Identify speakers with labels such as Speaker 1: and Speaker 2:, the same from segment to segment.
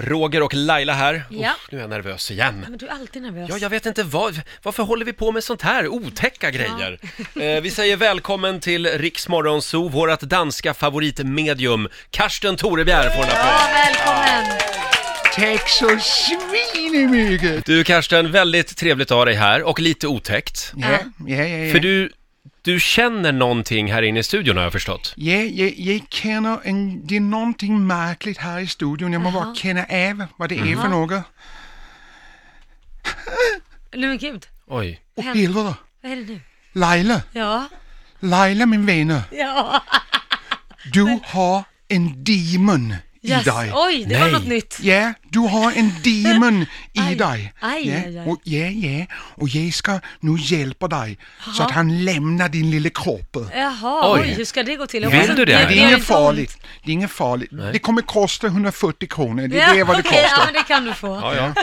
Speaker 1: Roger och Laila här.
Speaker 2: Ja.
Speaker 1: Uff, nu är jag nervös igen.
Speaker 2: Men du är alltid nervös.
Speaker 1: Ja, jag vet inte vad, varför håller vi på med sånt här otäcka grejer? Eh, vi säger välkommen till Riksmorgonzoo, vårt danska favoritmedium. Karsten Torebjer får en applåd.
Speaker 2: Välkommen!
Speaker 3: Tack så svinemycket!
Speaker 1: Du Karsten, väldigt trevligt att ha dig här och lite otäckt.
Speaker 3: Ja, ja, ja, ja.
Speaker 1: För du, du känner någonting här inne i studion har jag förstått.
Speaker 3: Ja, jag, jag känner en, det är någonting märkligt här i studion. Jag måste bara känna av vad det är för något.
Speaker 2: Nu men gud,
Speaker 1: Oj.
Speaker 3: Åh
Speaker 2: händer?
Speaker 3: helvete!
Speaker 2: vad är det nu?
Speaker 3: Laila,
Speaker 2: Ja.
Speaker 3: Laila min vän,
Speaker 2: Ja.
Speaker 3: du har en demon i
Speaker 2: Yes.
Speaker 3: dig.
Speaker 2: Oj, det var
Speaker 1: Nej.
Speaker 2: något nytt.
Speaker 3: Ja, du har en demon i
Speaker 2: Aj.
Speaker 3: dig.
Speaker 2: Aj,
Speaker 3: ja,
Speaker 2: aj, aj.
Speaker 3: Och, ja, ja. Och jag ska nu hjälpa dig så att han lämnar din lilla kropp.
Speaker 2: Jaha, oj.
Speaker 1: Oj.
Speaker 2: hur ska alltså, det gå till? Jag
Speaker 1: Vill
Speaker 2: hoppas
Speaker 1: du det?
Speaker 2: att
Speaker 1: Nej,
Speaker 3: Det
Speaker 2: gör
Speaker 3: är inget
Speaker 2: inte ont.
Speaker 3: farligt. Det är inget farligt. Det kommer kosta 140 kronor. Det
Speaker 2: Ja,
Speaker 3: är det vad det
Speaker 2: okej,
Speaker 3: kostar.
Speaker 2: Ja, men det kan du få.
Speaker 1: Ja, ja.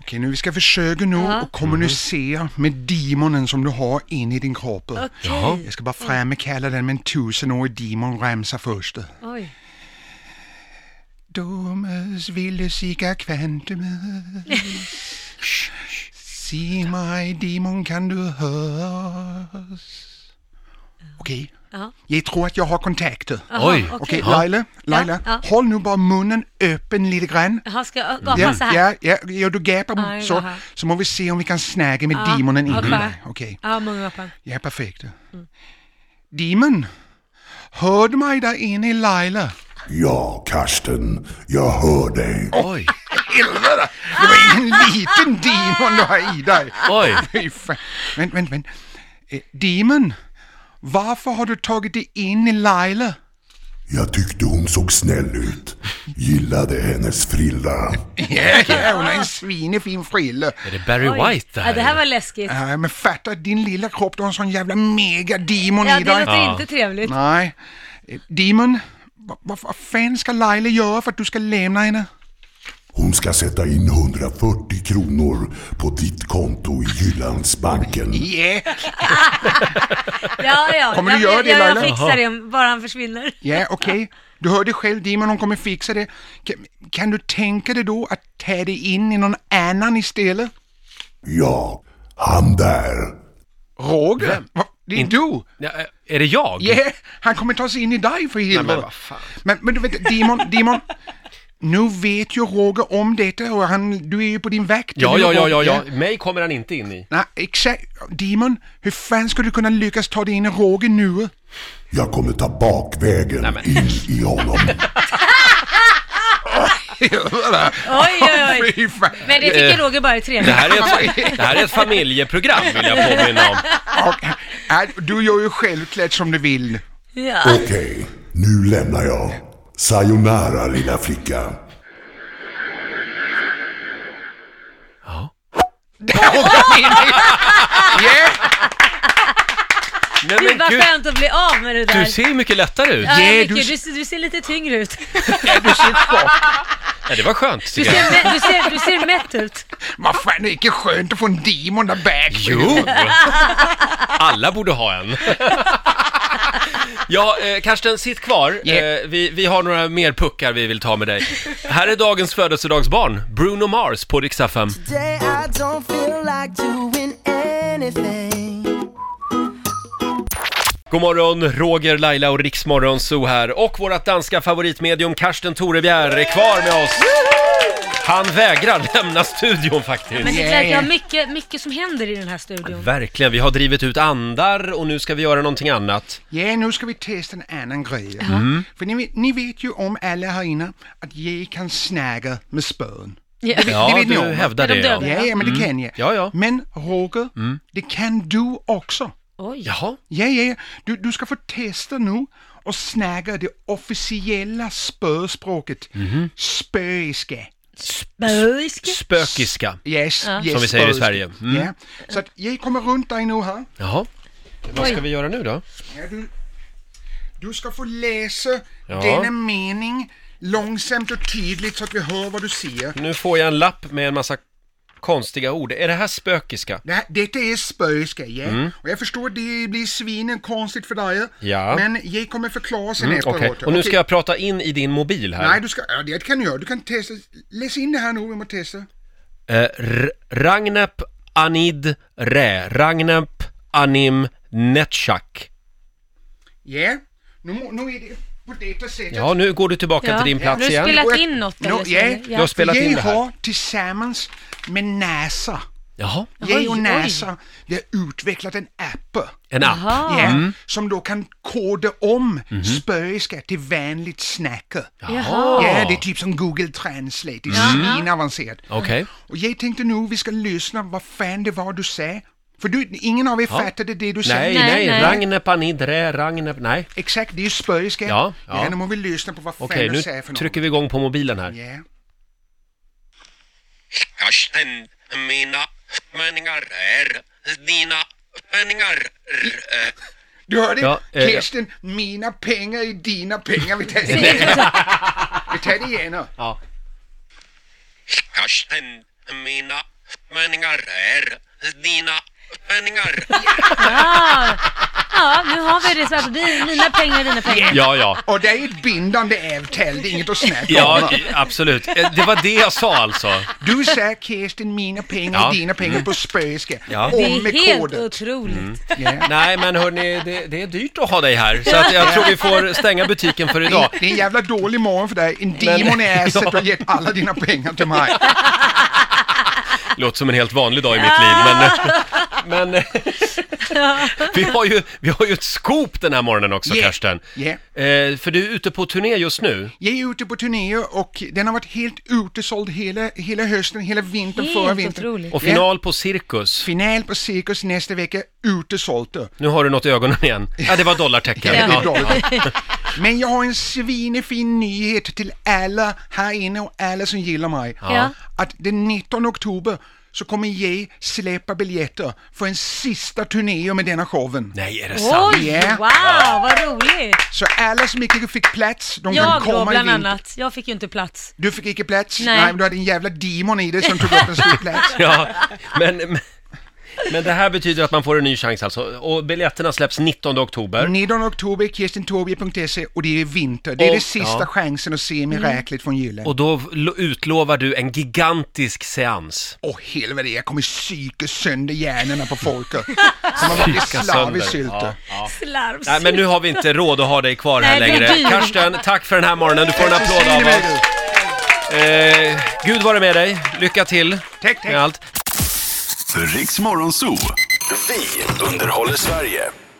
Speaker 3: Okej, nu vi ska försöka nu
Speaker 2: Ja.
Speaker 3: och kommunicera med demonen som du har inne i din kropp.
Speaker 2: Okej.
Speaker 3: Jag ska bara framkalla den med en tusenårig demonramsa först.
Speaker 2: Oj.
Speaker 3: Domus ville siga kvantumus. Se mig demon kan du höras. Okej,
Speaker 2: Ja.
Speaker 3: jag tror att jag har kontakter.
Speaker 1: Oj.
Speaker 3: Okej,
Speaker 2: Ja.
Speaker 3: Laila, Laila,
Speaker 2: Ja, ja.
Speaker 3: håll nu bara munnen öppen lite grann.
Speaker 2: Jaha, ska jag gapa
Speaker 3: Ja,
Speaker 2: så här?
Speaker 3: ja, ja, ja, du gapar
Speaker 2: Aj,
Speaker 3: så,
Speaker 2: jaha.
Speaker 3: så må vi se om vi kan snäga med demonen in i
Speaker 2: okej.
Speaker 3: dig. Okej,
Speaker 2: Ja, många gapar.
Speaker 3: ja perfekt. Demon, hör du mig där inne i Laila?
Speaker 4: Ja, Karsten, jag hör dig.
Speaker 1: Oj.
Speaker 3: Helvete! Det var en liten demon du har i dig.
Speaker 1: Oj.
Speaker 3: Fy fan. Vänt, vänt, vänt. Eh, Demon, varför har du tagit dig in i Laila?
Speaker 4: Jag tyckte hon såg snäll ut. Gillade hennes frilla.
Speaker 3: Ja, hon har en svinefin frilla.
Speaker 1: Är det Barry
Speaker 2: Oj.
Speaker 1: White där?
Speaker 2: Ja, det här var läskigt.
Speaker 3: Nej, men fatta din lilla kropp, du har en sån jävla megademon
Speaker 2: Ja,
Speaker 3: i
Speaker 2: det
Speaker 3: dig.
Speaker 2: låter inte trevligt.
Speaker 3: Nej. Eh, Demon, vad, vad, vad fan ska Laila göra för att du ska lämna henne?
Speaker 4: Hon ska sätta in 140 kronor på ditt konto i Jyllandsbanken.
Speaker 3: Yeah.
Speaker 2: Ja, ja.
Speaker 3: Kommer
Speaker 2: jag,
Speaker 3: du göra
Speaker 2: jag,
Speaker 3: det,
Speaker 2: jag, jag
Speaker 3: Laila?
Speaker 2: fixar det, om bara han försvinner.
Speaker 3: Ja, okej. Du hörde själv Demon, hon kommer fixa det. Kan, kan du tänka dig då att ta dig in i någon annan istället?
Speaker 4: Ja, han där.
Speaker 3: Roger? Va? Det är du!
Speaker 1: Ja, är det jag?
Speaker 3: Yeah, han kommer ta sig in i dig för
Speaker 1: Men
Speaker 3: helvete.
Speaker 1: vad fan.
Speaker 3: Men, men du vet, Demon, Demon. Nu vet ju Roger om detta och han, du är ju på din vakt.
Speaker 1: Ja, ja, ja, ja, ja.
Speaker 3: Ja.
Speaker 1: Mig kommer han inte in i.
Speaker 3: Nej, exakt. Demon, hur fan ska du kunna lyckas ta dig in i Roger nu?
Speaker 4: Jag kommer ta bakvägen in i honom.
Speaker 2: Oj, oj, oj.
Speaker 3: Fy fan.
Speaker 2: Men det tycker Roger bara är trevligt.
Speaker 1: Det här, är ett, det här är ett familjeprogram vill jag påminna om.
Speaker 3: Och, äh, du gör ju självklart som du vill.
Speaker 2: Ja.
Speaker 4: Okej, nu lämnar jag. Sayonara, lilla flicka.
Speaker 3: Yeah!
Speaker 1: Nej,
Speaker 2: Gud,
Speaker 1: men
Speaker 2: vad
Speaker 1: gud,
Speaker 2: skönt att bli av med det där.
Speaker 1: du ser ju mycket lättare ut.
Speaker 2: Ja,
Speaker 3: Yeah,
Speaker 2: Micke,
Speaker 3: du-
Speaker 2: du, ser- du ser lite tyngre ut.
Speaker 3: Du ser chock.
Speaker 1: Ja, det var skönt.
Speaker 2: Du
Speaker 1: tycker jag.
Speaker 2: ser, mä- du, ser, du ser mätt ut.
Speaker 3: Vad fan, det är inte skönt att få en demon där bak.
Speaker 1: Jo! Alla borde ha en. Ja, eh, Karsten, sitt kvar.
Speaker 3: Yeah.
Speaker 1: Eh, vi, vi har några mer puckar vi vill ta med dig. Här är dagens födelsedagsbarn, Bruno Mars på Rix FM.
Speaker 5: Today I don't feel like doing anything.
Speaker 1: God morgon, Roger, Laila och Riksmorgon Zoo här. Och vårt danska favoritmedium Karsten Torebjer är kvar med oss. Han vägrar lämna studion faktiskt.
Speaker 2: Men det
Speaker 3: Yeah.
Speaker 2: verkar vara mycket, mycket som händer i den här studion.
Speaker 1: Verkligen, vi har drivit ut andar och nu ska vi göra någonting annat.
Speaker 3: Ja, nu ska vi testa en annan grej.
Speaker 2: Mm.
Speaker 3: För ni, vet- ni vet ju om alla här inne att jag kan snäga med spön.
Speaker 2: Ja.
Speaker 1: Ja,
Speaker 3: det vet ni
Speaker 1: du
Speaker 3: om, va?
Speaker 1: hävdar
Speaker 2: Är
Speaker 1: det.
Speaker 2: de
Speaker 1: ja.
Speaker 2: döda?
Speaker 3: Ja, ja men det kan jag.
Speaker 1: Ja, Mm. ja.
Speaker 3: Men Roger, det kan du också.
Speaker 2: Oj.
Speaker 1: Jaha,
Speaker 3: Ja, ja, ja. Du, du ska få testa nu och snäga det officiella spöspråket.
Speaker 1: Mhm.
Speaker 3: Spöiska.
Speaker 2: Spöiske.
Speaker 1: spökiska.
Speaker 3: Yes, yes,
Speaker 1: Som vi säger i
Speaker 3: spöiska.
Speaker 1: Sverige. Mm.
Speaker 3: Ja. Så att jag kommer runt dig nu här.
Speaker 1: Jaha. Vad
Speaker 2: Oj.
Speaker 1: ska vi göra nu då?
Speaker 3: Ja, du, du ska få läsa
Speaker 1: Ja.
Speaker 3: denna mening långsamt och tydligt så att vi hör vad du säger.
Speaker 1: Nu får jag en lapp med en massa konstiga ord. Är det här spökiska?
Speaker 3: Det här, detta är spöjska, ja.
Speaker 1: Mm.
Speaker 3: Och jag förstår att det blir svinen konstigt för dig.
Speaker 1: Ja.
Speaker 3: Men jag kommer förklara sen efteråt.
Speaker 1: Mm, Okej, och nu
Speaker 3: Okej.
Speaker 1: ska jag prata in i din mobil här.
Speaker 3: Nej, du ska... Ja, det kan du göra. Du kan testa. Läs in det här nu, vi måste testa.
Speaker 1: Eh, R- Ragnep Anid Rä. Ragnep Anim Netchak.
Speaker 3: Ja. Nu, må- nu är det på detta sättet.
Speaker 1: Ja, nu går du tillbaka till din
Speaker 2: Har
Speaker 1: plats
Speaker 2: du
Speaker 1: igen.
Speaker 2: spelat in något
Speaker 3: No,
Speaker 2: eller? så,
Speaker 3: yeah.
Speaker 2: eller?
Speaker 1: Du har spelat in
Speaker 3: jag
Speaker 1: det här.
Speaker 3: har tillsammans med NASA,
Speaker 1: Jaha,
Speaker 3: jag och
Speaker 2: Oj, oj.
Speaker 3: NASA, vi har utvecklat en app.
Speaker 1: en app.
Speaker 2: Jaha.
Speaker 3: Ja,
Speaker 1: Mm.
Speaker 3: som då kan koda om
Speaker 1: Mhm.
Speaker 3: spöiska till vanligt snack. Ja,
Speaker 2: Jaha.
Speaker 3: det är typ som Google Translate, det är svinavancerat.
Speaker 1: Okej.
Speaker 3: Och jag tänkte nu vi ska lyssna vad fan det var du sa. För du, ingen av er fattade det du sa.
Speaker 1: Nej,
Speaker 2: Nej,
Speaker 1: nej,
Speaker 2: nej.
Speaker 1: Ragnep Anid Rä, Ragnep... Nej.
Speaker 3: Exakt, det är ju spöiska.
Speaker 1: Ja, ja.
Speaker 3: nu må vi lyssna på vad fan
Speaker 1: Okej,
Speaker 3: du säger
Speaker 1: nu
Speaker 3: för något.
Speaker 1: trycker vi igång på mobilen här.
Speaker 3: Ja.
Speaker 6: Karsten, mina meningar är dina meningar.
Speaker 3: Du hörde?
Speaker 1: Ja, eh,
Speaker 3: Kirsten, mina pengar är dina pengar. Vi tar det
Speaker 2: Det är
Speaker 3: igen.
Speaker 2: inte så-
Speaker 3: Vi tar det igen. nu.
Speaker 1: Ja.
Speaker 6: Karsten, mina meningar är dina meningar.
Speaker 2: Ja. ah. ja, nu har vi det så här. Det är mina pengar, dina pengar.
Speaker 1: Ja, ja.
Speaker 3: Och det är ett bindande avtal, det är inget att snacka
Speaker 1: Ja,
Speaker 3: om.
Speaker 1: i- absolut. Eh, Det var det jag sa alltså.
Speaker 3: Du sa Kirsten, mina pengar är
Speaker 1: Ja.
Speaker 3: dina pengar på spöiska.
Speaker 1: Ja.
Speaker 2: Det
Speaker 3: Och med
Speaker 2: är helt
Speaker 3: koden. Mm.
Speaker 2: otroligt.
Speaker 3: Ja.
Speaker 1: Nej, men hörni, det, det är dyrt att ha dig här. Så att jag tror vi får stänga butiken för idag.
Speaker 3: Det är en jävla dålig morgon för dig. En demon i asset har gett alla dina pengar till mig.
Speaker 1: Låter som en helt vanlig dag i mitt liv,
Speaker 3: Ah.
Speaker 1: men... men eh, vi, har ju, vi har ju ett scoop den här morgonen också,
Speaker 3: Yeah,
Speaker 1: Karsten.
Speaker 3: yeah.
Speaker 1: Eh, för du är ute på turné just nu.
Speaker 3: Jag är ute på turnéer och den har varit helt utesåld hela, hela hösten, hela vintern, förra
Speaker 2: Helt
Speaker 3: vintern.
Speaker 2: otroligt.
Speaker 1: Och final på Cirkus.
Speaker 3: Final på Cirkus nästa vecka, utesålt. då.
Speaker 1: Nu har du något i ögonen igen. Ja, det var dollartecken.
Speaker 3: Ja, det är
Speaker 1: Ja.
Speaker 3: dåligt. Men jag har en svinefin nyhet till alla här inne och alla som gillar mig.
Speaker 2: Ja.
Speaker 3: Att den 19 oktober så kommer jag släppa biljetter för en sista turné med denna showen.
Speaker 1: Nej, är det sant?
Speaker 2: Oj,
Speaker 3: Ja.
Speaker 2: wow, vad roligt! Så
Speaker 3: Så alla som inte fick plats, de kan
Speaker 2: jag
Speaker 3: komma
Speaker 2: då, bland
Speaker 3: i vinter.
Speaker 2: annat. Jag fick ju inte plats.
Speaker 3: Du fick inte plats?
Speaker 2: Nej.
Speaker 3: men du hade en jävla demon i dig som tog upp en stor plats.
Speaker 1: Ja, men, men, men det här betyder att man får en ny chans alltså. Och biljetterna släpps 19 oktober.
Speaker 3: 19 oktober, kirstentorbje.se och det är vinter. Det är
Speaker 1: Och-
Speaker 3: den sista
Speaker 1: ja.
Speaker 3: chansen att se miraklet från julen.
Speaker 1: Och då lo- utlovar du en gigantisk seans.
Speaker 3: Åh helvete, jag kommer psyka sönder hjärnorna på folk. Som har varit
Speaker 1: Psyka
Speaker 3: slav i
Speaker 1: sönder.
Speaker 3: sylte.
Speaker 2: Slarvs.
Speaker 1: Nej, men nu har vi inte råd att ha dig kvar här
Speaker 2: Nej, det är
Speaker 1: längre.
Speaker 2: dyrt.
Speaker 1: Karsten, tack för den här morgonen. Du får en applåd av oss. Eh, Gud vare med dig. Lycka till
Speaker 3: Tack, tack.
Speaker 1: med allt.
Speaker 7: Riks Morgonzoo. Vi underhåller Sverige.